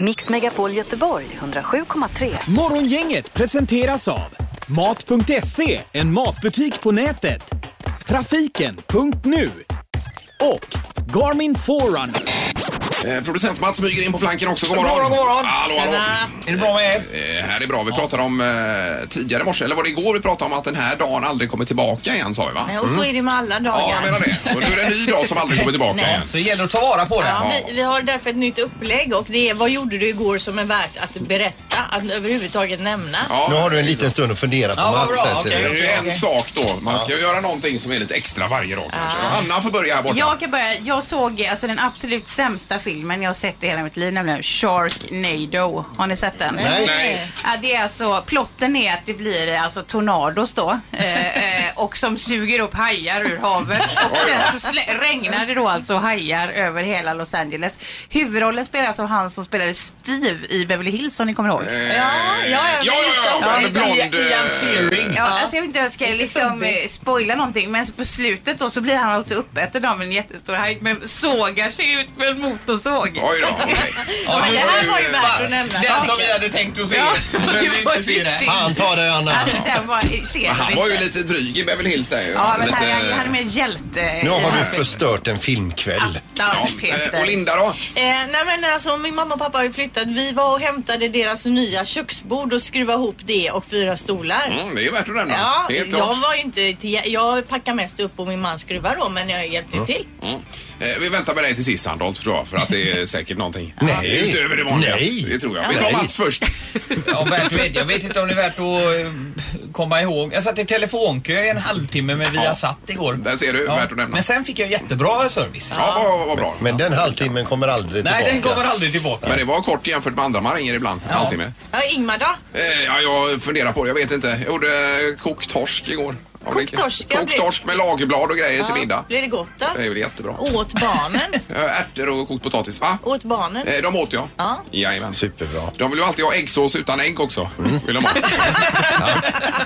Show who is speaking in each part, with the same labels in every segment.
Speaker 1: Mix Megapol Göteborg 107,3.
Speaker 2: Morgongänget presenteras av Mat.se, en matbutik på nätet. Trafiken.nu och Garmin Forerunner.
Speaker 3: Eh, producent Mats smyger in på flanken också. God morgon!
Speaker 4: morgon, god morgon.
Speaker 3: Hallå, hallå.
Speaker 4: Är det bra med er?
Speaker 3: Eh, här är bra. Vi pratade om eh, tidigare i morse, eller var det igår vi pratade om att den här dagen aldrig kommer tillbaka igen sa vi va?
Speaker 5: Nej, Eh, Och så är det ju med alla dagar.
Speaker 3: Mm. Ja, jag menar det. Och nu är det en ny dag som aldrig kommer tillbaka
Speaker 5: Nej.
Speaker 3: igen.
Speaker 4: Så det gäller att ta vara på det.
Speaker 5: Ja, vi, vi har därför ett nytt upplägg och det är vad gjorde du igår som är värt att berätta, att överhuvudtaget nämna.
Speaker 6: Nu
Speaker 3: Ja,
Speaker 6: har du en liten stund att fundera på
Speaker 4: Ja, vad
Speaker 6: Mats
Speaker 4: bra,
Speaker 6: här, ser
Speaker 4: okej.
Speaker 3: det är
Speaker 6: vi.
Speaker 3: ju en sak då. Man ska ju göra någonting som är lite extra varje dag kanske. Anna får börja här borta.
Speaker 7: Jag kan börja. Jag såg alltså den absolut sämsta filmen jag sett i hela mitt liv, nämligen Sharknado. Har ni sett den?
Speaker 6: Nej.
Speaker 3: Nej.
Speaker 7: Ja, det är alltså, plotten är att det blir alltså tornados då eh, eh, och som suger upp hajar ur havet och sen så slä- regnar det då alltså hajar över hela Los Angeles. Huvudrollen spelas av han som spelade Steve i Beverly Hills om ni kommer ihåg.
Speaker 3: Eh,
Speaker 5: ja, ja,
Speaker 3: ja, ja, ja,
Speaker 5: ja,
Speaker 3: den blond... eh,
Speaker 4: Ian Searing.
Speaker 7: Ja, alltså jag vet inte om jag ska
Speaker 5: Lite
Speaker 7: liksom
Speaker 5: zombie.
Speaker 7: eh, spoila någonting men på slutet då så blir han alltså uppäten av en jättestor haj men sågar sig ut med en
Speaker 3: Eh,
Speaker 7: motorsåg.
Speaker 3: Oj alltså då, okej.
Speaker 4: Ja,
Speaker 5: det här var ju värt att nämna.
Speaker 4: Den som vi hade tänkt att se.
Speaker 7: Ja,
Speaker 4: Du behöver
Speaker 7: det
Speaker 4: inte
Speaker 7: var
Speaker 4: se
Speaker 7: ju
Speaker 4: det.
Speaker 7: synd.
Speaker 6: Fan, ta det Anna.
Speaker 7: Alltså den var, ser jag
Speaker 3: Han
Speaker 7: inte.
Speaker 3: var ju lite dryg i Beverly Hills där ju.
Speaker 7: Ja men
Speaker 3: lite...
Speaker 7: här, är- han är mer hjälte.
Speaker 6: Nu har du
Speaker 7: Ja.
Speaker 6: förstört en filmkväll.
Speaker 7: Ja,
Speaker 3: Eh, Och Linda då?
Speaker 5: Eh, nej men alltså min mamma och pappa har ju flyttat. Vi var och hämtade deras nya köksbord och skruvade ihop det och fyra stolar.
Speaker 3: Mm, det är ju värt att nämna.
Speaker 5: Ja,
Speaker 3: Helt
Speaker 5: jag
Speaker 3: klart.
Speaker 5: var ju inte till, jag packade mest upp och min man skruvade då men jag hjälpte ju till.
Speaker 3: Mm. Eh, Vi väntar med dig till sist Sandholt tror jag, för att det är säkert någonting.
Speaker 6: Nej.
Speaker 3: Utöver det vanliga.
Speaker 6: Nej.
Speaker 3: Det tror jag. Vi tar
Speaker 6: Nej.
Speaker 3: Mats först.
Speaker 4: Ja, värt, vet- jag vet inte om det är värt att eh, komma ihåg. Jag satt i telefonkö i en halvtimme med Viasat igår.
Speaker 3: Där ser du, värt att nämna.
Speaker 4: Men sen fick jag jättebra service.
Speaker 3: Ja, vad, vad, vad bra.
Speaker 6: Men den halvtimmen kommer aldrig
Speaker 4: Nej, den
Speaker 6: tillbaka.
Speaker 4: kommer aldrig tillbaka.
Speaker 3: Men det var kort jämfört med andra man ringer ibland. En
Speaker 4: Ja.
Speaker 3: halvtimme.
Speaker 5: Ja, Ingmar då?
Speaker 3: Eh, Ja, jag funderar på det. Jag vet inte. Jag gjorde eh, kokt torsk igår. Om vi-
Speaker 5: Kokt torsk, ja,
Speaker 3: Kokt
Speaker 5: det-
Speaker 3: torsk med lagerblad och grejer till
Speaker 5: Ja, Oh.
Speaker 3: middag.
Speaker 5: Blev det gott då?
Speaker 3: Det är väl jättebra.
Speaker 5: Åt barnen?
Speaker 3: Eh, Ärtor och kokt potatis, va?
Speaker 5: Åt barnen?
Speaker 3: Eh, De åt jag.
Speaker 5: Ja.
Speaker 3: Jajamän.
Speaker 6: Superbra. Mm.
Speaker 3: De vill ju alltid ha äggsås utan ägg också. Vill de ha. ja.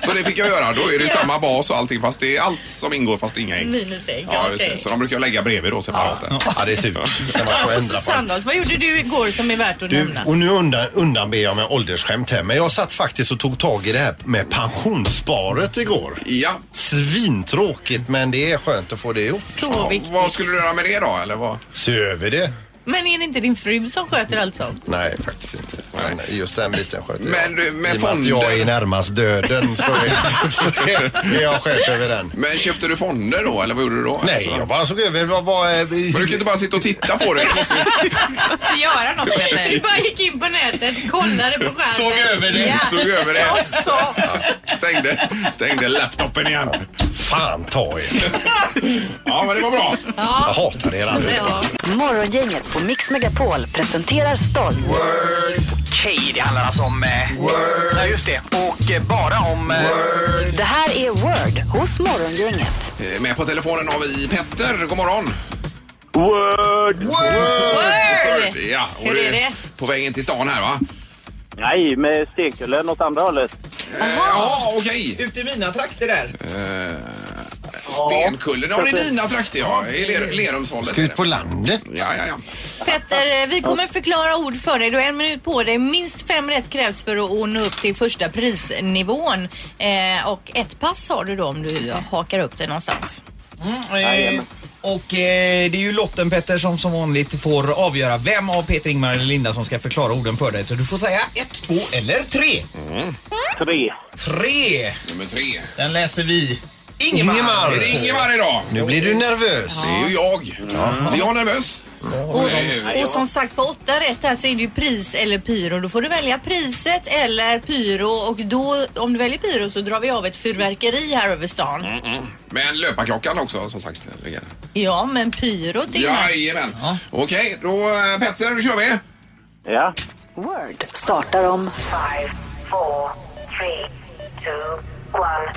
Speaker 3: Så det fick jag göra. Då är det samma bas och allting fast det är allt som ingår fast inga ägg.
Speaker 5: Minus ägg,
Speaker 3: Ja, just det.
Speaker 5: okej.
Speaker 3: Så de brukar jag lägga bredvid då separat. där.
Speaker 6: Ja, det är surt. Kan man få
Speaker 5: Och
Speaker 6: ändra
Speaker 5: så
Speaker 6: på det.
Speaker 5: Sandholt, vad gjorde du igår som är värt att
Speaker 6: Du,
Speaker 5: nämna?
Speaker 6: och nu undan, undanber jag mig åldersskämt här, men jag satt faktiskt och tog tag i det här med pensionssparet igår.
Speaker 3: Ja.
Speaker 6: Svintråkigt, men det är skönt att få det ihop.
Speaker 5: Så viktigt.
Speaker 3: Vad skulle du göra med det då? Eller vad?
Speaker 6: Se över det.
Speaker 5: Men är det inte din fru som sköter allt sånt?
Speaker 6: Nej, faktiskt inte. Men eh, just den biten sköter
Speaker 3: Men
Speaker 4: eh,
Speaker 3: du,
Speaker 6: jag.
Speaker 3: med
Speaker 6: I och med att jag
Speaker 3: fonder-
Speaker 6: är närmast döden så är, så är, är jag chef över den.
Speaker 3: Men köpte du fonder då eller vad gjorde du då?
Speaker 6: Nej,
Speaker 3: Alltså,
Speaker 6: jag bara såg över vad... vad eh,
Speaker 3: Men du kan inte bara sitta och titta på det. Du måste ju-
Speaker 7: Måste göra något
Speaker 5: Du
Speaker 7: Peter.
Speaker 5: bara gick in på nätet, kollade på skärmen.
Speaker 4: Såg över det.
Speaker 5: Ja.
Speaker 3: Såg över det.
Speaker 5: Så, så.
Speaker 3: Stängde, stängde laptopen igen.
Speaker 6: Fan ta er.
Speaker 3: Ja, men det var bra.
Speaker 6: Jag hatar er allihopa.
Speaker 5: Ja.
Speaker 1: Morgongänget på Mix Megapol presenterar stolt.
Speaker 8: Okej, det handlar alltså om... Eh, Word. Ja, just det. Och eh, bara om... Eh,
Speaker 1: Det här är Word hos Morgongänget.
Speaker 3: Eh, Med på telefonen har vi Petter. God morgon.
Speaker 9: Word!
Speaker 5: Word!
Speaker 3: Ja, och
Speaker 5: Hur
Speaker 3: du
Speaker 5: är det?
Speaker 3: På vägen till stan här va?
Speaker 9: Nej, med stekhjulen åt andra hållet.
Speaker 3: Eh, Ja, okej.
Speaker 4: Ute i mina trakter där.
Speaker 3: Stenkullen. Ja, det är dina trakter ja. I Ler- Lerumshållet.
Speaker 6: Ska
Speaker 3: är
Speaker 6: ut
Speaker 3: det.
Speaker 6: på landet.
Speaker 3: Ja, ja, ja.
Speaker 5: Petter, eh, vi kommer förklara ord för dig. Du har en minut på dig. Minst fem rätt krävs för att nå upp till första prisnivån. Eh, och ett pass har du då om du hakar upp dig någonstans.
Speaker 4: Mm, eh, och eh, det är ju lotten Petter som som vanligt får avgöra vem av Peter, Ingmar eller Linda som ska förklara orden för dig. Så du får säga ett, två eller tre.
Speaker 9: Tre.
Speaker 4: Tre!
Speaker 3: Nummer tre.
Speaker 4: Den läser vi. Ingemar!
Speaker 6: Ingemar!
Speaker 3: Är det Ingemar idag?
Speaker 6: Nu blir du nervös.
Speaker 3: Det är ju jag. Är jag nervös?
Speaker 5: Och,
Speaker 3: Eh,
Speaker 5: och som sagt på åtta rätt här så är det ju pris eller pyro. Då får du välja priset eller pyro och då om du väljer pyro så drar vi av ett fyrverkeri här över stan.
Speaker 4: Mm.
Speaker 3: Men löparklockan också som sagt. ligger där.
Speaker 5: Ja men pyro till
Speaker 3: Jajamän. Okej, då eh, Petter, nu kör vi.
Speaker 9: Ja.
Speaker 1: Word startar om
Speaker 10: Five, four, three, two, one.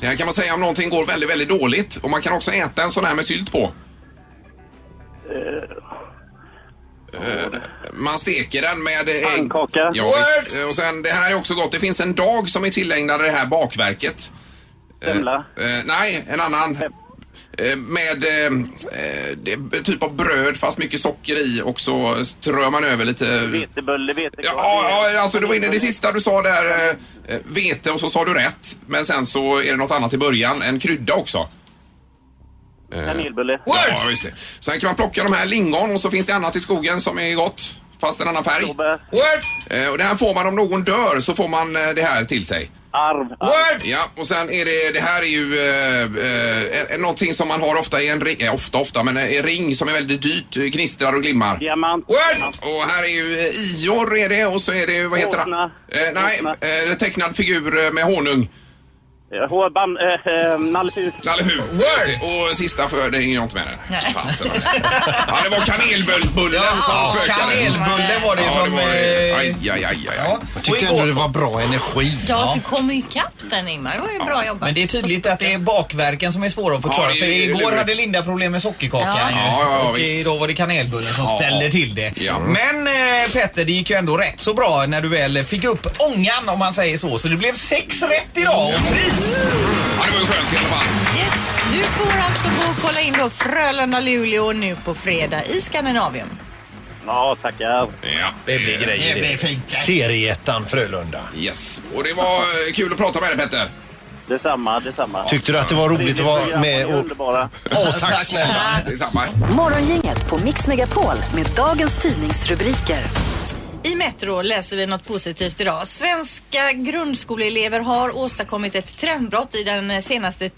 Speaker 3: Det här kan man säga om någonting går väldigt, väldigt dåligt. Och man kan också äta en sån här med sylt på. Eh, Man steker den med eh, ägg.
Speaker 9: Pannkaka.
Speaker 3: Ja, visst. Eh, Och sen, det här är också gott. Det finns en dag som är tillägnad det här bakverket.
Speaker 9: Semla.
Speaker 3: Eh, nej, en eh, annan. eh, med eh, eh, det är typ av bröd fast mycket socker i och så strör man över lite...
Speaker 9: Vetebulle, Mm. vetekorv.
Speaker 3: Mm. Ja, ja, alltså du var inne i det sista du sa där, eh, eh, vete och så sa du rätt. Men sen så är det något annat i början, en krydda också.
Speaker 9: Eh. Kanelbulle.
Speaker 3: Ja, just det. Sen kan man plocka de här lingon och så finns det annat i skogen som är gott. Fast en annan färg. Eh, Och det här får man om någon dör så får man eh, det här till sig.
Speaker 9: Arv.
Speaker 3: Ja, och sen är det, det här är ju eh, eh, någonting som man har ofta i en ring, eh, ofta ofta, men eh, en ring som är väldigt dyrt, eh, gnistrar och glimmar.
Speaker 9: Diamant.
Speaker 3: Och här är ju eh, Ior är det och så är det, vad heter
Speaker 9: Åsna.
Speaker 3: det? Eh, nej, eh, tecknad figur eh, med honung.
Speaker 9: Hårband. Äh, äh, Nalle Puh.
Speaker 3: Nalle Puh. Just det. Och sista för, det hänger jag inte med den. Fasen också. Ja, det var kanelbullen som spökade.
Speaker 4: kanelbullen var det som, eh,
Speaker 3: var det. Aj, aj, aj, aj.
Speaker 6: Jag tyckte ändå det var bra energi.
Speaker 5: Ja, du kom ju ikapp sen Ingmar. Det var ju bra jobbat.
Speaker 4: Men det är tydligt att det är bakverken som är svåra att förklara.
Speaker 3: Ja, det är
Speaker 4: för igår
Speaker 3: lurigt.
Speaker 4: hade Linda problem med sockerkakan
Speaker 5: Ja.
Speaker 4: ju.
Speaker 3: Ja, ja, ja,
Speaker 4: och
Speaker 3: visst.
Speaker 4: idag var det kanelbullen som
Speaker 3: Ja.
Speaker 4: ställde till det.
Speaker 3: Ja.
Speaker 4: Men eh, Petter, det gick ju ändå rätt så bra när du väl fick upp ångan om man säger så. Så det blev sex rätt idag och pris!
Speaker 3: Ja, det var ju skönt i alla fall.
Speaker 5: Yes, du får alltså gå och kolla in då Frölunda-Luleå nu på fredag i Skandinavien.
Speaker 9: Ja, tackar.
Speaker 3: Ja.
Speaker 6: Det blir grejer det.
Speaker 4: fint.
Speaker 6: Serieettan Frölunda.
Speaker 3: Yes. Och det var eh, kul att prata med dig Petter.
Speaker 9: Detsamma, detsamma.
Speaker 6: Tyckte du att det var roligt att vara med
Speaker 9: och...
Speaker 6: och...
Speaker 9: Underbara.
Speaker 6: Åh, tack snälla!
Speaker 3: Detsamma.
Speaker 1: Morgongänget på Mix Megapol med dagens tidningsrubriker.
Speaker 5: I Metro läser vi något positivt idag. Svenska grundskoleelever har åstadkommit ett trendbrott i den senaste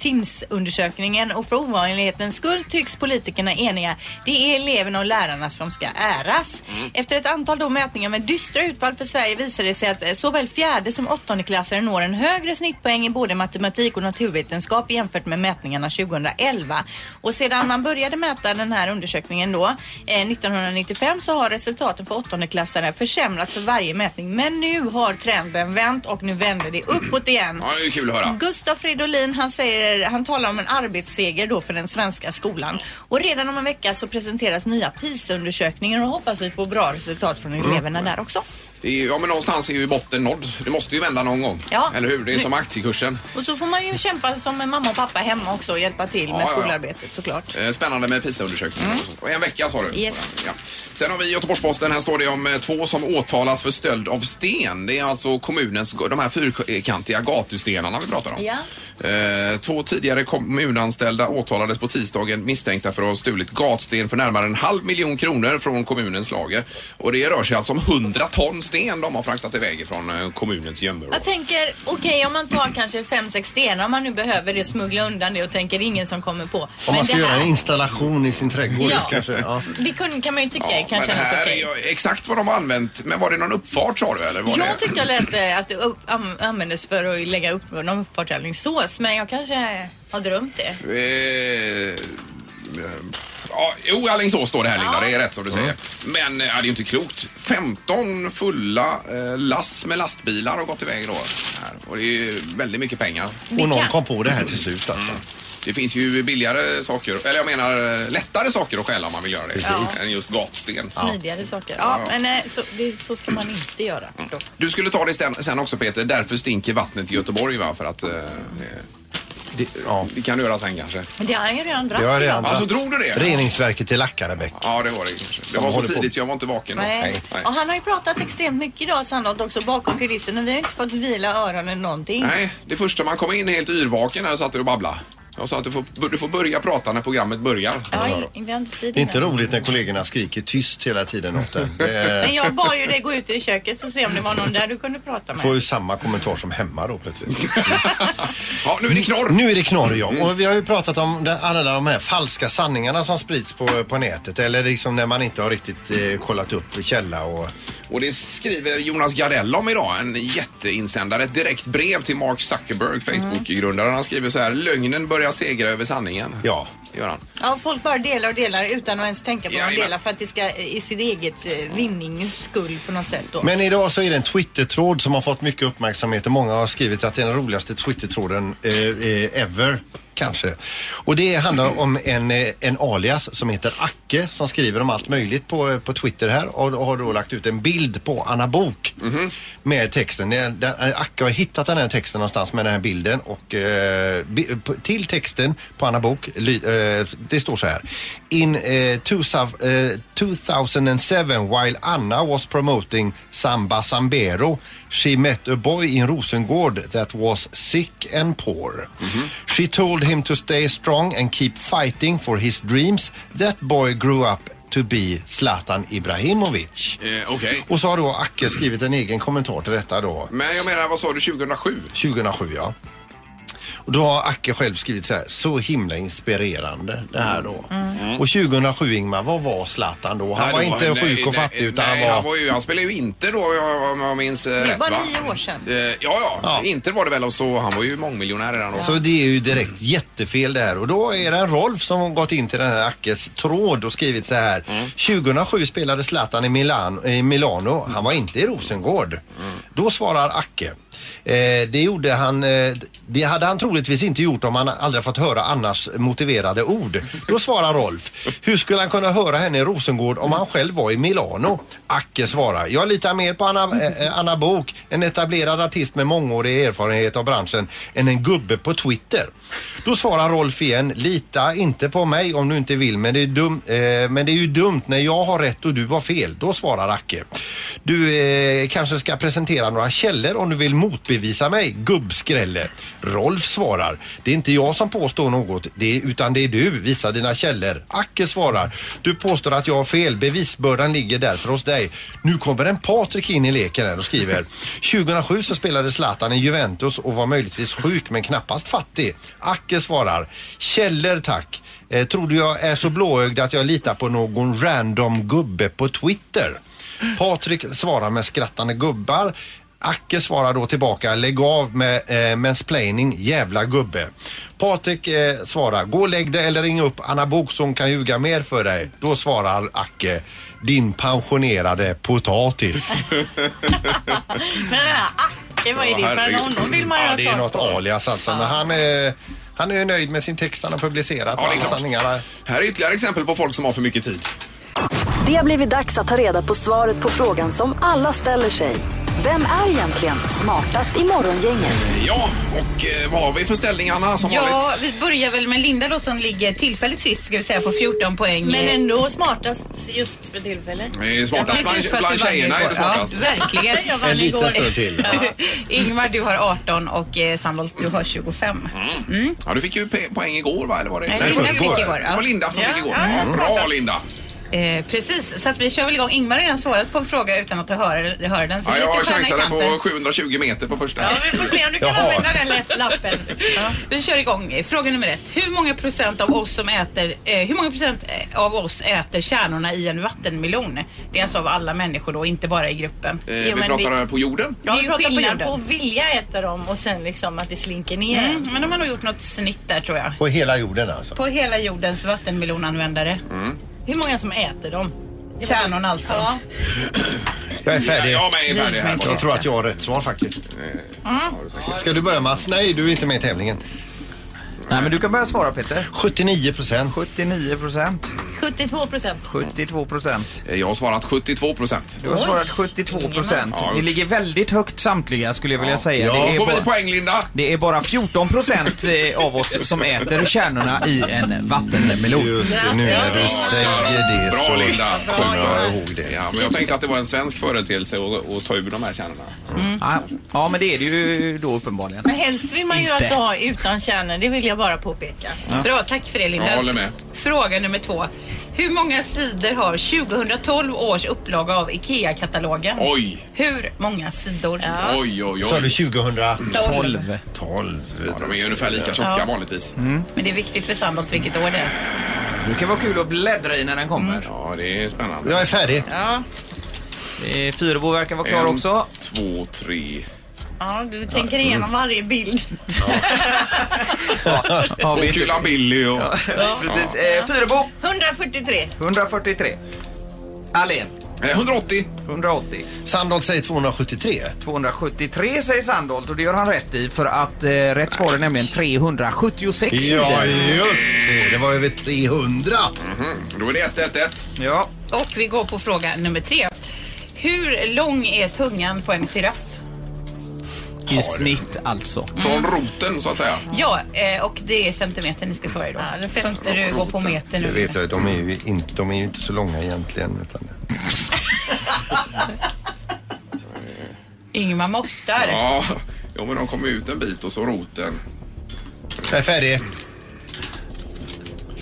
Speaker 5: TIMSS-undersökningen och för ovanlighetens skull tycks politikerna eniga. Det är eleverna och lärarna som ska äras. Efter ett antal då mätningar med dystra utfall för Sverige visar det sig att eh, såväl fjärde som åttondeklassare når en högre snittpoäng i både matematik och naturvetenskap jämfört med mätningarna 2011. Och sedan man började mäta den här undersökningen då, eh, 1995, så har resultaten för åttondeklassare försämrats för varje mätning. Men nu har trenden vänt och nu vänder det uppåt igen.
Speaker 3: Ja, det är kul att höra.
Speaker 5: Gustav Fridolin han, säger, han talar om en arbetsseger då för den svenska skolan. Och redan om en vecka så presenteras nya PISA-undersökningar och hoppas vi får bra resultat från eleverna där också.
Speaker 3: Det är, ju- ja, men någonstans är ju botten nådd. Det måste ju vända någon gång.
Speaker 5: Ja.
Speaker 3: Eller hur? Det är som aktiekursen.
Speaker 5: Och så får man ju kämpa som en mamma och pappa hemma också och hjälpa till
Speaker 3: Ja,
Speaker 5: med
Speaker 3: ja, ja.
Speaker 5: skolarbetet såklart.
Speaker 3: Eh, Spännande med PISA-undersökningen. Och en vecka sa du?
Speaker 5: Mm. Yes.
Speaker 3: Ja. Sen har vi Göteborgs-Posten. Här står det om eh, två som åtalas för stöld av sten. Det är alltså kommunens, de här fyrkantiga gatustenarna vi pratar om.
Speaker 5: Ja.
Speaker 3: Eh, Två tidigare kommunanställda åtalades på tisdagen misstänkta för att ha stulit gatsten för närmare en halv miljon kronor från kommunens lager. Och det rör sig alltså om 100 ton sten de har fraktat iväg från eh, kommunens gömmor.
Speaker 5: Jag tänker, okej om man tar kanske fem sex stenar om man nu behöver det, smuggla undan det och tänker ingen som kommer på.
Speaker 6: Om man
Speaker 5: Men
Speaker 6: ska
Speaker 5: det
Speaker 6: göra en
Speaker 5: här,
Speaker 6: installation i sin trädgård
Speaker 5: Ja.
Speaker 6: kanske. Ja.
Speaker 5: det kun- kan man ju tycka
Speaker 3: Ja,
Speaker 5: kan
Speaker 3: men
Speaker 5: kännas
Speaker 3: här är
Speaker 5: okej.
Speaker 3: ju exakt vad de har använt. Men var det någon uppfart sa du? Eller var det...
Speaker 5: Jag tyckte jag läste att det upp, an, användes för att lägga upp någon uppfartävlingssås men jag kanske har drömt det.
Speaker 3: Eh, eh, Ja, jo, Alingsås står det här Linda,
Speaker 5: Ja.
Speaker 3: det är rätt som du
Speaker 6: Mm.
Speaker 3: säger. Men eh, ja, det är ju inte klokt. 15 fulla eh, lass med lastbilar har gått iväg då. Här. Och det är ju väldigt mycket pengar.
Speaker 6: Och någon
Speaker 5: kan-
Speaker 6: kom på det här till slut alltså.
Speaker 3: Det finns ju billigare saker, eller jag menar eh, lättare saker att stjäla om man vill göra det.
Speaker 5: Precis.
Speaker 3: Än just gatsten.
Speaker 5: Smidigare saker. Ja, men eh, så, det, så ska man inte göra. Då.
Speaker 3: Du skulle ta det sen, sen också Peter, därför stinker vattnet i Göteborg va? För att eh,
Speaker 6: Det, ja.
Speaker 3: det kan du göra sen kanske.
Speaker 5: Men det har jag ju redan dratt
Speaker 6: Det har jag redan
Speaker 5: idag.
Speaker 3: Alltså drog du det?
Speaker 6: Reningsverket i Lackarebäck.
Speaker 3: Ja, det var det kanske. Det
Speaker 6: Som
Speaker 3: var så
Speaker 6: håller på-
Speaker 3: tidigt så jag var inte vaken. då.
Speaker 5: Nej. Och han har ju pratat extremt mycket idag Sandholt också bakom kulisserna. Vi har ju inte fått vila öronen någonting.
Speaker 3: Nej, det första man kom in helt yrvaken här satt du och babblade. Jag sa att du får, du får börja prata när programmet börjar.
Speaker 5: Ja, vi har inte tid
Speaker 6: Det är inte
Speaker 5: innan.
Speaker 6: roligt när kollegorna skriker tyst hela tiden åt en. Det är-
Speaker 5: Men jag bad ju dig gå ut i köket och se om det var någon där du kunde prata
Speaker 6: får
Speaker 5: med.
Speaker 6: ju samma kommentar som hemma då plötsligt.
Speaker 3: Ja, nu är det knorr!
Speaker 6: Nu är det knorr ja. Och vi har ju pratat om de- alla de här falska sanningarna som sprids på, på nätet. Eller liksom när man inte har riktigt eh, kollat upp källa och...
Speaker 3: Och det skriver Jonas Gardell om idag, en jätteinsändare. Ett direkt brev till Mark
Speaker 6: Mm.
Speaker 3: Zuckerberg, Facebook-grundaren. Han skriver så här, lögnen börjar segra över sanningen.
Speaker 6: Ja.
Speaker 3: Det Gör han.
Speaker 5: Ja, folk bara delar och delar utan att ens tänka på vad de
Speaker 3: Jajamän.
Speaker 5: delar för att det ska eh, i sitt eget eh, vinnings skull på något sätt då.
Speaker 6: Men idag så är det en Twitter-tråd som har fått mycket uppmärksamhet och många har skrivit att det är den roligaste Twitter-tråden eh, eh, ever. Kanske. Och det handlar om en, eh, en alias som heter Acke som skriver om allt möjligt på, eh, på Twitter här och, har då lagt ut en bild på Anna Bok med texten. Det är- den- eh, Acke har hittat den här texten någonstans med den här bilden och eh, bi- på- till texten på Anna Bok ly, eh, eh, det står så här. In eh, two, eh, 2007 while Anna was promoting Samba Sambero she met a boy in Rosengård that was sick and poor.
Speaker 3: Mhm.
Speaker 6: She told him to stay strong and keep fighting for his dreams. That boy grew up to be Zlatan Ibrahimovic.
Speaker 3: Eh, Okej.
Speaker 6: Och så har då Acke skrivit en egen kommentar till detta då.
Speaker 3: Men jag menar, vad sa du, 2007?
Speaker 6: 2007 ja. Och då har Acke själv skrivit så här, så himla inspirerande det här då. Och 2007 Ingmar, vad var Zlatan då? Han
Speaker 3: Mm. Nej,
Speaker 6: var
Speaker 3: det
Speaker 6: inte
Speaker 3: nej,
Speaker 6: sjuk och
Speaker 3: nej,
Speaker 6: fattig utan
Speaker 3: nej,
Speaker 6: han var...
Speaker 3: ju, han spelade ju inte då jag- om jag minns eh,
Speaker 5: Det
Speaker 3: rätt
Speaker 5: var
Speaker 3: va?
Speaker 5: nio år sedan.
Speaker 3: Eh, ja, ja,
Speaker 6: Ja.
Speaker 3: Inte var det väl och så. Han var ju mångmiljonär redan då.
Speaker 6: Så det är ju direkt jättefel det här. Och då är det en Rolf som har gått in till den här Ackes tråd och skrivit så här. 2007 spelade Zlatan i, Milan, i Milano. Han var inte i Rosengård. Då svarar Acke. Eh, det gjorde han, eh, det hade han troligtvis inte gjort om han aldrig fått höra annars motiverade ord. Då svarar Rolf. Hur skulle han kunna höra henne i Rosengård om han själv var i Milano? Acke svarar. Jag litar mer på Anna, eh, eh, Anna Bok, en etablerad artist med mångårig erfarenhet av branschen, än en gubbe på Twitter. Då svarar Rolf igen. Lita inte på mig om du inte vill, men det är, dum, eh, men det är ju dumt när jag har rätt och du har fel. Då svarar Acke. Du eh, kanske ska presentera några källor om du vill motbevisa mig, gubbskrälle. Rolf svarar. Det är inte jag som påstår något, det, är- utan det är du. Visa dina källor. Acke svarar. Du påstår att jag har fel. Bevisbördan ligger därför hos dig. Nu kommer en Patrik in i leken här och skriver. 2007 så spelade Zlatan i Juventus och var möjligtvis sjuk men knappast fattig. Acke svarar. Källor tack. Eh, tror du jag är så blåögd att jag litar på någon random gubbe på Twitter? Patrik svarar med skrattande gubbar. Acke svarar då tillbaka, lägg av med eh, mansplaining, jävla gubbe. Patrik eh, svarar, gå och lägg dig eller ring upp Anna Bok som kan ljuga mer för dig. Då svarar Acke, din pensionerade potatis.
Speaker 5: Men den här Acke, vad är
Speaker 3: Ja,
Speaker 5: det för en
Speaker 3: herregud.
Speaker 5: honom vill man ju
Speaker 6: Ja,
Speaker 5: ha
Speaker 6: det är
Speaker 5: tag
Speaker 6: något
Speaker 5: på.
Speaker 6: alias alltså, men han, eh, han är ju nöjd med sin text han har publicerat.
Speaker 3: Ja,
Speaker 6: Liksom
Speaker 3: det är
Speaker 6: Alla
Speaker 3: klart.
Speaker 6: sanningar.
Speaker 3: Här är ytterligare exempel på folk som har för mycket tid.
Speaker 1: Det har blivit dags att ta reda på svaret på frågan som alla ställer sig. Vem är egentligen smartast i morgongänget?
Speaker 3: Ja, och eh, vad har vi för ställning Anna som
Speaker 7: Ja,
Speaker 3: vanligt?
Speaker 7: vi börjar väl med Linda då som ligger tillfälligt sist ska vi säga på 14 poäng.
Speaker 5: Men ändå smartast just för tillfället.
Speaker 3: Det är smartast
Speaker 7: Precis för att
Speaker 3: bland,
Speaker 7: du
Speaker 3: bland
Speaker 7: vann
Speaker 3: tjejerna är
Speaker 7: igår.
Speaker 3: det smartast.
Speaker 7: Ja, verkligen.
Speaker 5: Jag
Speaker 6: En
Speaker 5: vann
Speaker 6: liten
Speaker 5: igår.
Speaker 6: stund till.
Speaker 7: Ingmar, du har 18 och eh, Sandholt, du har 25.
Speaker 3: Ja, du fick ju pe- poäng igår va? Eller var det?
Speaker 7: Nej,
Speaker 3: det var
Speaker 6: Linda fick
Speaker 3: igår.
Speaker 7: igår, ja.
Speaker 3: Det var Linda som
Speaker 7: Ja,
Speaker 3: fick igår.
Speaker 7: ja,
Speaker 3: Ja,
Speaker 7: ja,
Speaker 3: Bra
Speaker 7: smartast.
Speaker 3: Linda!
Speaker 7: Eh, precis, så att vi kör väl igång. Ingmar har redan svarat på en fråga utan att höra, höra den. Så
Speaker 3: Ja,
Speaker 7: det är lite
Speaker 3: jag
Speaker 7: stjärna i
Speaker 3: chansade
Speaker 7: kanten.
Speaker 3: på 720 meter på första. Eh,
Speaker 5: Ja, vi får se om du kan
Speaker 6: Jaha.
Speaker 5: använda den lätt- lappen. Ja.
Speaker 7: Vi kör igång. Fråga nummer ett. Hur många procent av oss som äter, eh, hur många procent eh, av oss äter kärnorna i en vattenmelon? Det är alltså av alla människor då, inte bara i gruppen.
Speaker 3: Eh,
Speaker 5: Jo,
Speaker 3: vi
Speaker 5: men
Speaker 3: pratar
Speaker 5: det-
Speaker 3: här på jorden.
Speaker 7: Ja,
Speaker 5: det är
Speaker 7: vi
Speaker 5: ju
Speaker 7: pratar på
Speaker 5: skillnad
Speaker 7: jorden.
Speaker 5: på att vilja äta dem och sen liksom att det slinker ner.
Speaker 7: Mm, men de har nog gjort något snitt där tror jag.
Speaker 6: På hela jorden alltså.
Speaker 7: På hela jordens vattenmelonanvändare.
Speaker 5: Hur många som äter dem?
Speaker 7: Kärnorna alltså.
Speaker 5: Ja.
Speaker 6: Jag är
Speaker 3: Ja,
Speaker 6: färdig.
Speaker 3: jag med är färdig här.
Speaker 7: Givetvis.
Speaker 6: Jag tror att jag har rätt svar faktiskt.
Speaker 3: Mm.
Speaker 6: Ska du börja Mats? Nej, du är inte med i tävlingen.
Speaker 4: Nej, men du kan börja svara Peter.
Speaker 6: 79 procent.
Speaker 4: 79 procent.
Speaker 5: 72 procent.
Speaker 4: 72 procent.
Speaker 3: Eh, Jag har svarat 72 procent.
Speaker 4: Du har svarat 72 procent.
Speaker 3: Ja,
Speaker 4: Ni
Speaker 3: usch.
Speaker 4: ligger väldigt högt samtliga skulle jag vilja säga.
Speaker 3: Ja,
Speaker 4: det, är
Speaker 3: får vi
Speaker 4: bara,
Speaker 3: poäng Linda?
Speaker 4: det är bara 14 procent eh, av oss som äter kärnorna i en vattenmelon.
Speaker 6: Just det, nu när du säger det
Speaker 3: Bra,
Speaker 6: så
Speaker 3: Linda.
Speaker 6: kommer jag
Speaker 3: Bra.
Speaker 6: ihåg det.
Speaker 3: Ja, men jag tänkte att det var en svensk företeelse att, att ta ur de här kärnorna.
Speaker 4: Ja, Ja, men det är det ju då uppenbarligen.
Speaker 5: Men helst vill man ju
Speaker 4: Inte.
Speaker 5: alltså ha utan kärnor, det vill jag bara påpeka.
Speaker 7: Bra, tack för det Linda.
Speaker 3: Jag håller med.
Speaker 7: Fråga nummer två. Hur många sidor har 2012 års upplaga av IKEA-katalogen?
Speaker 3: Oj,
Speaker 7: Hur många sidor?
Speaker 3: oj, oj,
Speaker 6: Sa du
Speaker 3: oj.
Speaker 6: 2012?
Speaker 4: 12.
Speaker 3: Ja, de är ju ungefär lika tjocka vanligtvis.
Speaker 4: Mm.
Speaker 7: Men det är viktigt för Sandholt vilket år det är.
Speaker 4: Det kan vara kul att bläddra i när den kommer.
Speaker 3: Ja, det är spännande.
Speaker 6: Jag är färdig.
Speaker 4: Eh, Fyrebo verkar vara klar också.
Speaker 3: två, tre.
Speaker 5: Ja, du tänker igenom varje bild.
Speaker 4: Har vi
Speaker 3: Och Kulan Billy och...
Speaker 4: precis. Eh, Fyrebo
Speaker 5: 143.
Speaker 4: 143. Allén
Speaker 3: Eh, 180.
Speaker 4: 180.
Speaker 6: Sandholt säger 273.
Speaker 4: 273 säger Sandholt och det gör han rätt i för att eh, rätt svar är nämligen 376
Speaker 6: Ja, just det. Det var över 300.
Speaker 3: Mhm. Då är det 1, 1, 1.
Speaker 4: Ja.
Speaker 7: Och vi går på fråga nummer tre. Hur lång är tungan på en giraff?
Speaker 4: I snitt alltså.
Speaker 3: Från roten så att säga.
Speaker 7: Ja, eh, och det är centimeter ni ska svara i då. Ja, det fäster du går på meter
Speaker 6: Det
Speaker 7: nu.
Speaker 6: vet jag, de är ju inte, de är ju inte så långa egentligen. Utan...
Speaker 7: Ingmar måttar.
Speaker 3: Ja, jo, men de kommer ut en bit och så roten.
Speaker 6: Jag är färdig.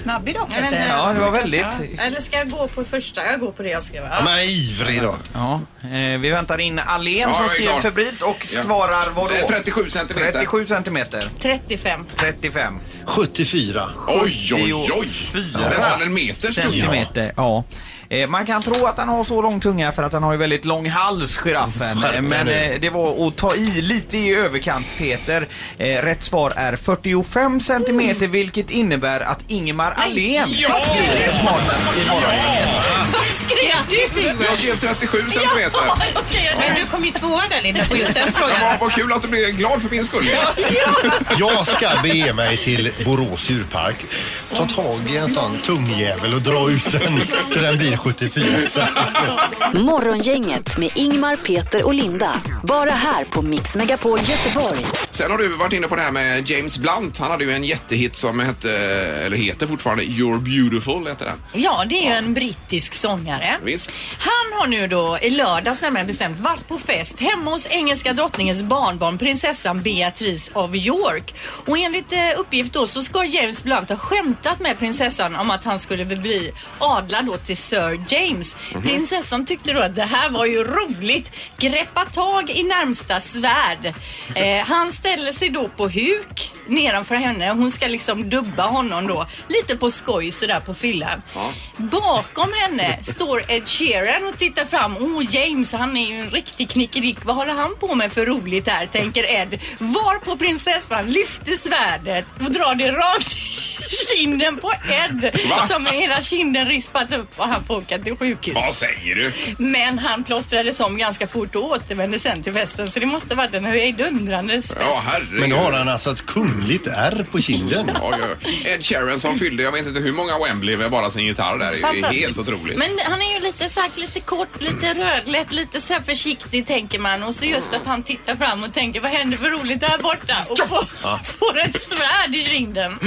Speaker 7: Snabb idag
Speaker 5: Men,
Speaker 7: Peter.
Speaker 5: eh,
Speaker 4: Ja, det var väldigt.
Speaker 5: Eller ska jag gå på första? Jag går på det jag skrev.
Speaker 6: Ja, men jag är ivrig då.
Speaker 4: Ja, eh, vi väntar in Alen
Speaker 3: Ja,
Speaker 4: som
Speaker 3: jag är
Speaker 4: skriver
Speaker 3: klar.
Speaker 4: febrilt och
Speaker 3: Ja.
Speaker 4: svarar vad
Speaker 3: Eh,
Speaker 4: då?
Speaker 3: 37 centimeter.
Speaker 4: 37 centimeter.
Speaker 5: 35.
Speaker 4: 35.
Speaker 6: 74.
Speaker 3: Oj, oj, oj!
Speaker 4: 74
Speaker 3: Nästan en meter stor.
Speaker 4: centimeter. Ja. Eh, Man kan tro att han har så lång tunga för att han har ju väldigt lång hals, giraffen.
Speaker 6: Skärp
Speaker 4: Eh,
Speaker 6: dig
Speaker 4: Men
Speaker 6: nu.
Speaker 4: eh, det var att ta i lite i överkant, Peter. Eh, Rätt svar är 45 centimeter, vilket innebär att Ingemar Ahlén
Speaker 3: Ja!
Speaker 4: är smartast i morgongänget.
Speaker 5: Vad skrev du Sigvard?
Speaker 3: Jag skrev 37 centimeter.
Speaker 5: Ja, okej, jag
Speaker 7: Men du kom ju tvåa där Linda på just den
Speaker 3: Men
Speaker 7: frågan.
Speaker 3: vad, vad kul att du blev glad för min skull.
Speaker 6: Jag ska bege mig till Borås djurpark. Ta tag i en sån tungjävel och dra ut den till den blir 74 centimeter.
Speaker 1: Morgongänget med Ingmar, Peter och Linda. Bara här på Mix Megapol Göteborg.
Speaker 3: Sen har du varit inne på det här med James Blunt. Han hade ju en jättehit som hette, eller heter fortfarande, You're Beautiful. Heter den.
Speaker 5: Ja, det är ju en brittisk sångare.
Speaker 3: Visst.
Speaker 5: Han har nu då i lördags närmare bestämt varit på fest hemma hos engelska drottningens barnbarn prinsessan Beatrice av York. Och enligt eh, uppgift då så ska James Blunt ha skämtat med prinsessan om att han skulle bli adlad då till Sir James. Prinsessan tyckte då att det här var ju roligt. Greppa tag i närmsta svärd. Eh, han ställer sig då på huk nedanför henne. Hon ska liksom dubba honom då. Lite på skoj sådär på fyllan. Bakom henne står Ed Sheeran och tittar fram. Oh James, han är ju en riktig knickedick. Vad håller han på med för roligt här, tänker Ed. Var på prinsessan lyfter svärdet och drar det rakt i kinden på Ed.
Speaker 3: Va?
Speaker 5: Som är hela kinden rispat upp och han får åka till sjukhus.
Speaker 3: Vad säger du?
Speaker 5: Men han plåstrades om ganska fort och återvände sen till festen. Så det måste varit en hejdundrandes fest.
Speaker 3: Ja, herregud.
Speaker 6: Men då har han alltså ett kungligt ärr på kinden.
Speaker 3: Ja, ja, ja. Ed Sheeran som fyllde, jag vet inte hur många Wembley med bara sin gitarr där. Det är
Speaker 5: Fantastiskt.
Speaker 3: helt otroligt.
Speaker 5: Men han är ju lite så här, lite kort, lite rödlätt, lite så här försiktig tänker man. Och så just att han tittar fram och tänker vad händer för roligt där borta? Och får, får ett svärd i kinden.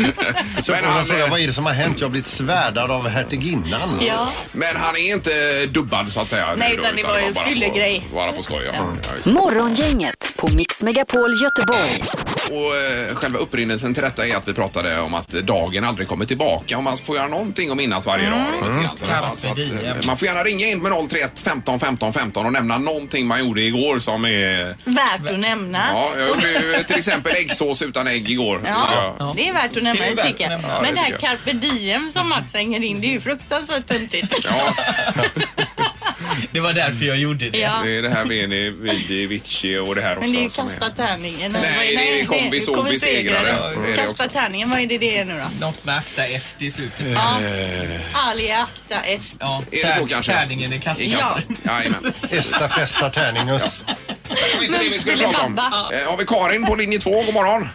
Speaker 6: Så
Speaker 3: Men
Speaker 6: men han
Speaker 3: han,
Speaker 6: frågar
Speaker 3: eh,
Speaker 6: vad är det som har hänt? Jag har blivit svärdad av hertiginnan.
Speaker 5: Ja.
Speaker 3: Men han är inte dubbad så att säga. nu
Speaker 5: Nej,
Speaker 3: då,
Speaker 5: utan det var ju
Speaker 3: bara
Speaker 5: fyllegrej.
Speaker 3: på- Bara på skoj. Ja. Ja, just.
Speaker 1: Morgongänget på Mix Megapol Göteborg.
Speaker 3: Och eh, själva upprinnelsen till detta är att vi pratade om att dagen aldrig kommer tillbaka. Om man får göra någonting och minnas varje
Speaker 5: Mm.
Speaker 3: dag. och lite grann sådär, va. Så att, eh, man får gärna ringa in med 031 15 15 15 och nämna någonting man gjorde igår som är...
Speaker 5: Värt att nämna.
Speaker 3: Ja, jag gjorde ju till exempel äggsås utan ägg igår.
Speaker 5: Ah. Ja,
Speaker 3: Ja.
Speaker 5: det är värt att nämna
Speaker 4: Det är
Speaker 5: det
Speaker 4: värt
Speaker 5: tycker
Speaker 4: att
Speaker 5: jag.
Speaker 4: nämna.
Speaker 3: Ja,
Speaker 5: Men
Speaker 3: det
Speaker 5: det här
Speaker 3: tycker
Speaker 5: carpe diem som Mats hänger in, det är ju fruktansvärt töntigt.
Speaker 3: Ja,
Speaker 4: Det var därför jag gjorde det.
Speaker 5: Ja.
Speaker 3: det är det här med Veni, Vidi, Vici och det här också.
Speaker 5: Men det är ju
Speaker 3: som är-
Speaker 5: kasta tärningen.
Speaker 3: Nej, det är kompis och besegrare. Det är det
Speaker 5: Kasta
Speaker 3: också.
Speaker 5: tärningen, vad är det det är nu då?
Speaker 4: Något med akta est i slutet.
Speaker 5: Ja. Ali akta est.
Speaker 4: Ja,
Speaker 3: Är det så kanske?
Speaker 4: Tärningen är kastad.
Speaker 3: I kastan. Jajamän.
Speaker 6: Esta festa terningus.
Speaker 3: Det var inte det vi skulle
Speaker 5: skulle
Speaker 3: prata om.
Speaker 5: babba?
Speaker 3: Eh, Har vi Karin på linje två? God morgon.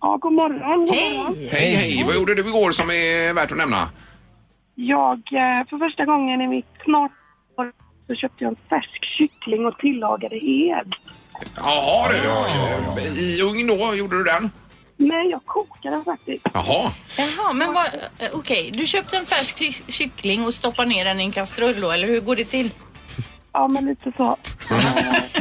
Speaker 10: Ja, god morgon. God morgon.
Speaker 5: Hej!
Speaker 3: Hej, hej. Vad gjorde du igår som är värt att nämna?
Speaker 10: Jag, eh, för första gången i mitt snart år så köpte jag en färsk kyckling och tillagade hel.
Speaker 3: Jaha du. I ugn då, gjorde du den?
Speaker 10: Nej, jag kokade den faktiskt.
Speaker 3: Jaha.
Speaker 5: Jaha, men vad... eh, Okej, du köpte en färsk ky- kyckling och stoppar ner den i en kastrull då, eller hur går det till?
Speaker 10: Ja, men lite så.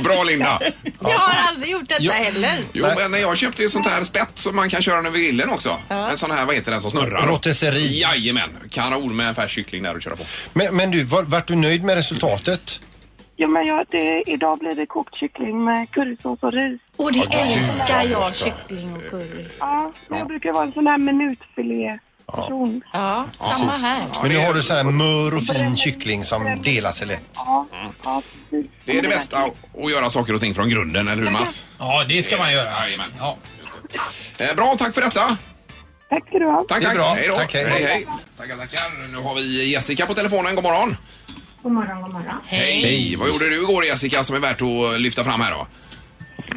Speaker 3: Bra Linda.
Speaker 5: Jag har aldrig gjort detta
Speaker 6: Ja.
Speaker 5: heller.
Speaker 3: Jo, men jag köpte ju sånt här spett som man kan köra över grillen också. En sån här, vad heter den som snurrar?
Speaker 6: Rotisserie.
Speaker 3: Jajamän. Kanon med en färsk kyckling där och köra på.
Speaker 6: Men, men du, var, vart du nöjd med resultatet?
Speaker 10: Ja, men jag, det, idag blir det kokt kyckling med currysås och ris.
Speaker 5: Och det älskar jag, kyckling och curry.
Speaker 10: Ja, men jag brukar vara en sån här minutfilé-person.
Speaker 5: Ja, samma här.
Speaker 6: Men nu har du så här mör och fin kyckling som delar sig lätt.
Speaker 10: Ja, ja, precis.
Speaker 3: Mm. Det
Speaker 11: Oh
Speaker 3: är det bästa, att göra saker och ting från grunden, eller hur Mats?
Speaker 4: Ja, det ska man göra.
Speaker 3: Jajamän.
Speaker 4: Ja.
Speaker 3: Eh, Bra, tack för detta.
Speaker 10: Tack ska du ha.
Speaker 3: Tack,
Speaker 6: Det är
Speaker 3: tack.
Speaker 6: bra.
Speaker 3: Hej då.
Speaker 6: Tack, hej.
Speaker 3: hej, hej. Tackar, tackar. Nu har vi Jessica på telefonen. God morgon.
Speaker 10: God morgon, god morgon.
Speaker 3: Hej. Vad gjorde du igår Jessica som är värt att lyfta fram här då?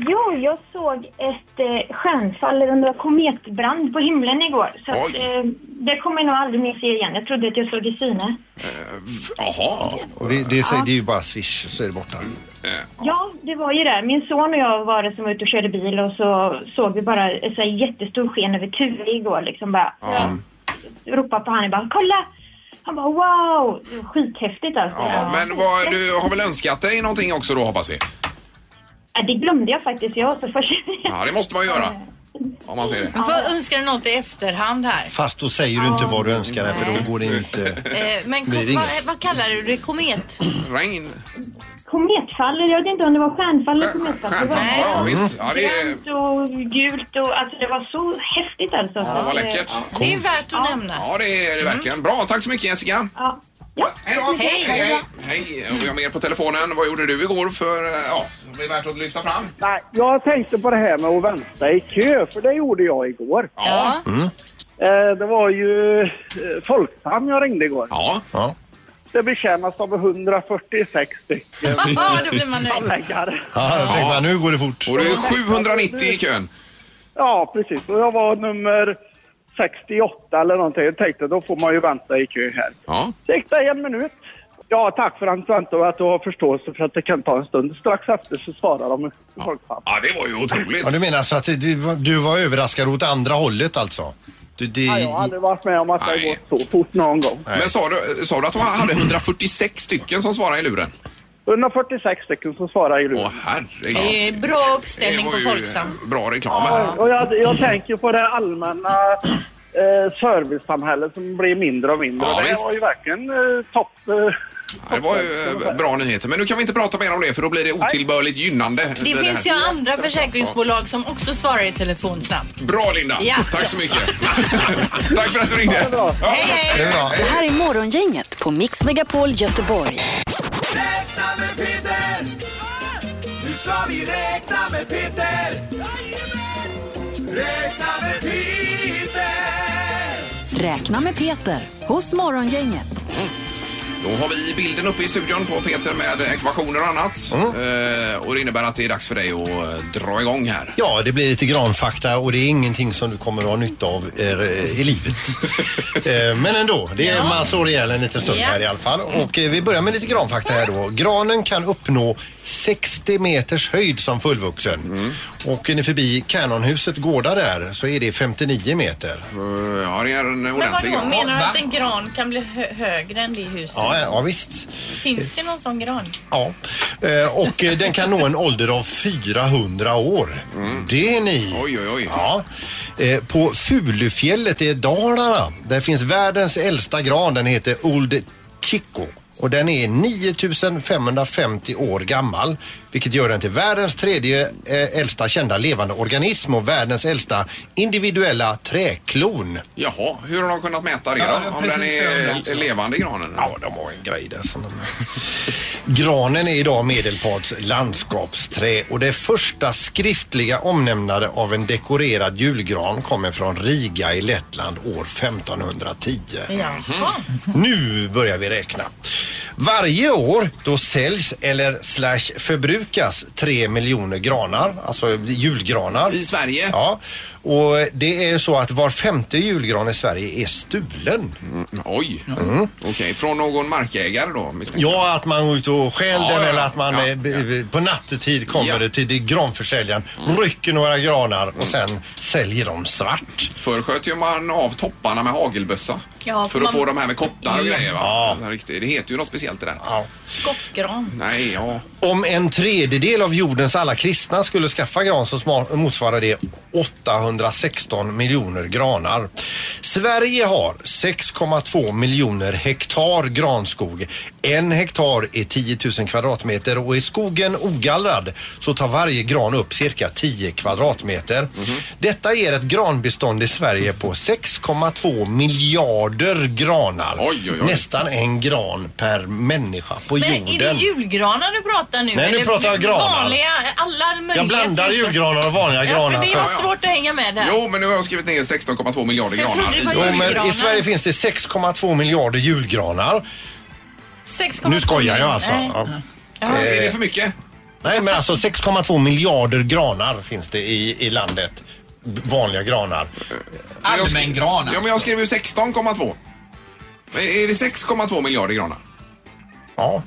Speaker 12: Jo, jag såg ett eh, stjärnfall eller om det var kometbrand på himlen igår. Så att,
Speaker 3: Oj.
Speaker 12: eh, det kommer jag nog aldrig mer se igen. Jag trodde att jag såg i syne.
Speaker 3: Jaha.
Speaker 6: Och det, det, säger, det är ju bara swish så är det borta.
Speaker 12: Ja, det var ju det. Min son och jag var det som var ute och körde bil och så såg vi bara ett så här jättestor sken över Ture igår. Liksom bara,
Speaker 3: Ja. Mm.
Speaker 12: Jag ropade på honom bara kolla! Han bara wow! Det var skithäftigt alltså.
Speaker 3: Ja, men vad, du har väl önskat dig någonting också då hoppas vi?
Speaker 12: Ja, det glömde jag faktiskt. Jag var så fascinerad.
Speaker 3: Ja, det måste man ju göra. Om man säger det.
Speaker 5: Man får önska dig något i efterhand här.
Speaker 6: Fast då säger du inte vad du önskar dig för då går det ju inte...
Speaker 5: Eh, Men
Speaker 6: Blir det
Speaker 5: kom, vad,
Speaker 6: inget?
Speaker 5: vad kallar du det? Komet?
Speaker 3: Regn?
Speaker 12: Kometfall, jag vet inte om det var stjärnfall eller kometfall. Det var
Speaker 3: Stjärnfall, ja, visst. Ja, det är-
Speaker 12: grönt och gult och alltså det var så häftigt alltså.
Speaker 3: Ja, vad läckert.
Speaker 5: Det är värt att nämna.
Speaker 3: Ja, det är det verkligen. Bra, tack så mycket Jessica.
Speaker 12: Ja. Ja,
Speaker 3: Hej då!
Speaker 5: Hej.
Speaker 3: Hej, hej. Och Vi har mer på telefonen. Vad gjorde du igår för, eh, ja, som är värt att lyfta fram?
Speaker 11: Nej, jag tänkte på det här med att vänta i kö, för det gjorde jag igår.
Speaker 3: Ja.
Speaker 11: Eh, Det var ju eh, Folksam jag ringde igår.
Speaker 3: Ja.
Speaker 6: Ja.
Speaker 11: Det betjänas av 146 stycken
Speaker 5: Ja, då blir man nöjd.
Speaker 11: handläggare.
Speaker 6: Ja, jag tänkte bara, nu går det fort.
Speaker 3: Och du är 790 i kön.
Speaker 11: Ja, precis. Och jag var nummer 68 eller någonting. Jag tänkte då får man ju vänta i kö här.
Speaker 3: Ja.
Speaker 11: Det gick det en minut. Ja, tack för att du väntar och att du har förståelse för att det kan ta en stund. Strax efter så svarar de Folksam.
Speaker 3: Ja, det var ju otroligt.
Speaker 6: Ja, du menar så att du, var- du var överraskad åt andra hållet alltså? Du, det,
Speaker 11: Ja, jag har aldrig varit med om att det har
Speaker 3: Nej.
Speaker 11: gått så fort någon gång.
Speaker 3: Men sa du, sa du att du hade 146 stycken som svarade i luren?
Speaker 11: 146 stycken som svarar i luren.
Speaker 3: Åh, herregud.
Speaker 5: Det är bra
Speaker 3: Det
Speaker 5: uppställning
Speaker 3: var
Speaker 5: på
Speaker 3: ju
Speaker 5: Folksam.
Speaker 3: eh, bra reklam
Speaker 11: Ja,
Speaker 3: här.
Speaker 11: och jag, jag tänker på det allmänna eh, servicesamhället som blir mindre och mindre.
Speaker 3: Ja,
Speaker 11: det
Speaker 3: visst.
Speaker 11: var ju verkligen eh, topp... Eh,
Speaker 3: Ja, Det var ju eh, bra nyheter. Men nu kan vi inte prata mer om det för då blir det otillbörligt gynnande.
Speaker 5: Det
Speaker 3: här.
Speaker 5: finns ju andra försäkringsbolag som också svarar i telefon snabbt.
Speaker 3: Bra Linda!
Speaker 5: Ja.
Speaker 3: Tack så mycket. Tack för att du ringde. Ja.
Speaker 6: det är bra.
Speaker 1: Det här är Morgongänget på Mix Megapol Göteborg.
Speaker 2: Nu ska vi räkna med Peter! Räkna med Peter!
Speaker 1: Räkna med Peter hos Morgongänget.
Speaker 3: Då har vi bilden uppe i studion på Peter med ekvationer och annat. Eh, och det innebär att det är dags för dig att eh, dra igång här.
Speaker 6: Ja, det blir lite granfakta och det är ingenting som du kommer att ha nytta av er, eh, i livet. Eh, Men ändå, det är, man slår ihjäl en liten stund
Speaker 5: Ja.
Speaker 6: här i alla fall. Och eh, vi börjar med lite granfakta här då. Granen kan uppnå 60 meters höjd som fullvuxen. Och är ni förbi Kanonhuset Gårda där så är det 59 meter.
Speaker 3: Eh, ja, det är en
Speaker 5: Men
Speaker 3: ordentlig
Speaker 5: vadå, menar du
Speaker 6: va?
Speaker 5: att en gran kan bli hö högre än det huset?
Speaker 6: Ja, ja visst.
Speaker 5: Finns det någon sån gran?
Speaker 6: Ja. Eh, Och eh, den kan nå en ålder av 400 år. Det är ni.
Speaker 3: Mm. Oj, oj, oj.
Speaker 6: Ja. Eh, På Fulufjället i Dalarna, där finns världens äldsta gran. Den heter Old Chico. Och den är 9550 år gammal, vilket gör den till världens tredje eh, äldsta kända levande organism och världens äldsta individuella träklon.
Speaker 3: Jaha, hur har de kunnat mäta det då?
Speaker 6: Ja,
Speaker 3: Om
Speaker 6: precis,
Speaker 3: den
Speaker 6: jag undrar
Speaker 3: är
Speaker 6: också.
Speaker 3: levande granen?
Speaker 6: Ja, de har en grej där. Som de... Granen är idag Medelpads landskapsträ och det första skriftliga omnämnande av en dekorerad julgran kommer från Riga i Lettland år 1510.
Speaker 5: Jaha.
Speaker 6: Nu börjar vi räkna. Varje år då säljs eller slash förbrukas tre miljoner granar, alltså julgranar.
Speaker 3: I Sverige?
Speaker 6: Ja, och det är så att var femte julgran i Sverige är stulen.
Speaker 3: Mm, Oj. Okej, från någon markägare då? misstänker jag.
Speaker 6: Ja, att man går ut och stjäl
Speaker 3: Ja,
Speaker 6: den
Speaker 3: ja,
Speaker 6: eller
Speaker 3: ja.
Speaker 6: att man
Speaker 3: Ja,
Speaker 6: eh, b- b- på nattetid kommer
Speaker 3: Ja. Mm.
Speaker 6: det till det granförsäljaren, rycker några granar och sen säljer de svart.
Speaker 3: Förr sköt ju man av topparna med hagelbössa.
Speaker 5: Ja,
Speaker 3: för
Speaker 5: för
Speaker 3: att
Speaker 5: man-
Speaker 3: få de här med kottar och
Speaker 5: Ja.
Speaker 3: grejer va? Ja. Riktigt. Det heter ju något speciellt det där.
Speaker 5: Skottgran.
Speaker 3: Nej, ja.
Speaker 6: Om en tredjedel av jordens alla kristna skulle skaffa gran så sma- motsvarar det 816 miljoner granar. Sverige har 6,2 miljoner hektar granskog. En hektar är 10 000 kvadratmeter och är skogen ogallrad så tar varje gran upp cirka 10 kvadratmeter. Detta ger ett granbestånd i Sverige på 6,2 miljarder granar.
Speaker 3: Oj, oj, oj.
Speaker 6: Nästan en gran per människa på
Speaker 5: Men är
Speaker 6: jorden.
Speaker 5: det julgranar du pratar nu?
Speaker 6: Nej, nu
Speaker 5: Eller
Speaker 6: pratar jag granar.
Speaker 5: Vanliga, alla möjliga
Speaker 6: Jag blandar
Speaker 5: typer?
Speaker 6: julgranar och vanliga
Speaker 5: Ja, för
Speaker 6: granar.
Speaker 5: det
Speaker 6: För
Speaker 5: är svårt att hänga med där.
Speaker 3: Jo, men nu har jag skrivit ner 16,2 miljarder
Speaker 5: Jag
Speaker 3: granar.
Speaker 5: trodde det
Speaker 3: i
Speaker 5: var
Speaker 6: Jo,
Speaker 3: Sverige.
Speaker 6: men
Speaker 5: julgranar.
Speaker 6: I Sverige finns det 6,2 miljarder julgranar.
Speaker 5: 6,2
Speaker 6: Nu skojar jag alltså. Eh,
Speaker 5: Nej.
Speaker 6: Ja.
Speaker 3: Är det för mycket?
Speaker 6: Nej, men alltså 6,2 miljarder granar finns det i, i landet. B- Vanliga granar.
Speaker 3: Allmän gran Ja, men jag skrev ju 16,2. Men Är det 6,2 miljarder granar?
Speaker 6: Ja.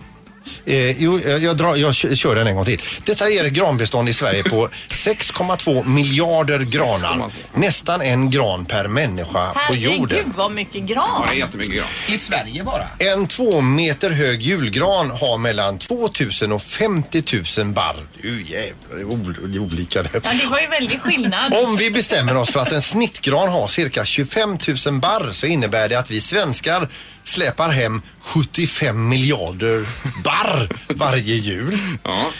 Speaker 6: Eh, jo, jag, jag, drar, jag kö- kör den en gång till. Detta ger ett granbestånd i Sverige på 6,2 miljarder granar. Nästan en gran per människa på jorden.
Speaker 5: Herregud vad mycket gran.
Speaker 3: jättemycket gran.
Speaker 4: I Sverige bara?
Speaker 6: En två meter hög julgran har mellan 2000 och 50 000 barr. Det är ju jävlar, det är ol- det är olika det.
Speaker 5: Ja, det var ju väldigt skillnad.
Speaker 6: Om vi bestämmer oss för att en snittgran har cirka 25 000 barr så innebär det att vi svenskar släpar hem 75 miljarder barr varje jul.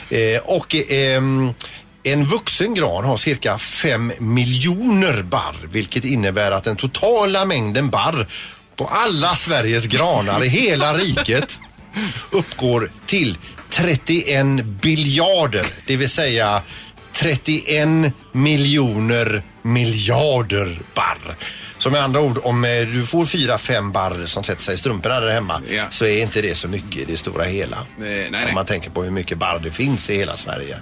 Speaker 6: Eh, och ehm, en vuxen gran har cirka 5 miljoner barr vilket innebär att den totala mängden barr på alla Sveriges granar i hela riket uppgår till 31 biljarder, det vill säga 31 miljoner miljarder barr. Så med andra ord, om eh, du får fyra, fem barr som sätter sig i strumporna där hemma så är inte det så mycket i det stora hela.
Speaker 3: Eh, nej, Mm,
Speaker 6: Om man tänker på hur mycket barr det finns i hela Sverige.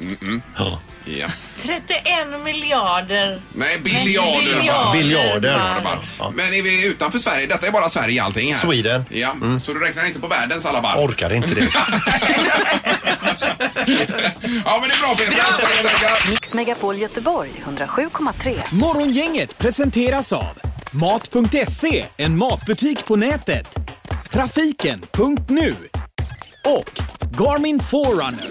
Speaker 6: Ja.
Speaker 3: Ja.
Speaker 5: 31 miljarder.
Speaker 3: Nej, biljarder. bara.
Speaker 6: Biljarder.
Speaker 3: bara. Men är vi utanför Sverige? Detta är bara Sverige allting här.
Speaker 6: Sweden.
Speaker 3: Ja, så du räknar inte på världens alla barr?
Speaker 6: Orkar inte det.
Speaker 3: ja, men det är bra Peter. Tack, tack, tack.
Speaker 1: Mix Megapol Göteborg 107,3.
Speaker 13: Morgongänget presenteras av Mat.se, en matbutik på nätet. Trafiken.nu och Garmin Forerunner.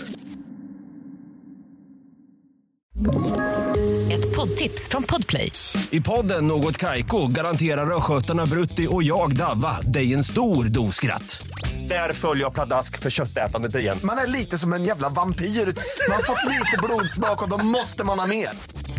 Speaker 14: Ett poddtips från Podplay.
Speaker 15: I podden Något Kaiko garanterar östgötarna Brutti och jag, Davva, dig en stor dos skratt. Där följer jag pladask för köttätandet igen.
Speaker 16: Man är lite som en jävla vampyr. Man har fått lite blodsmak och då måste man ha mer.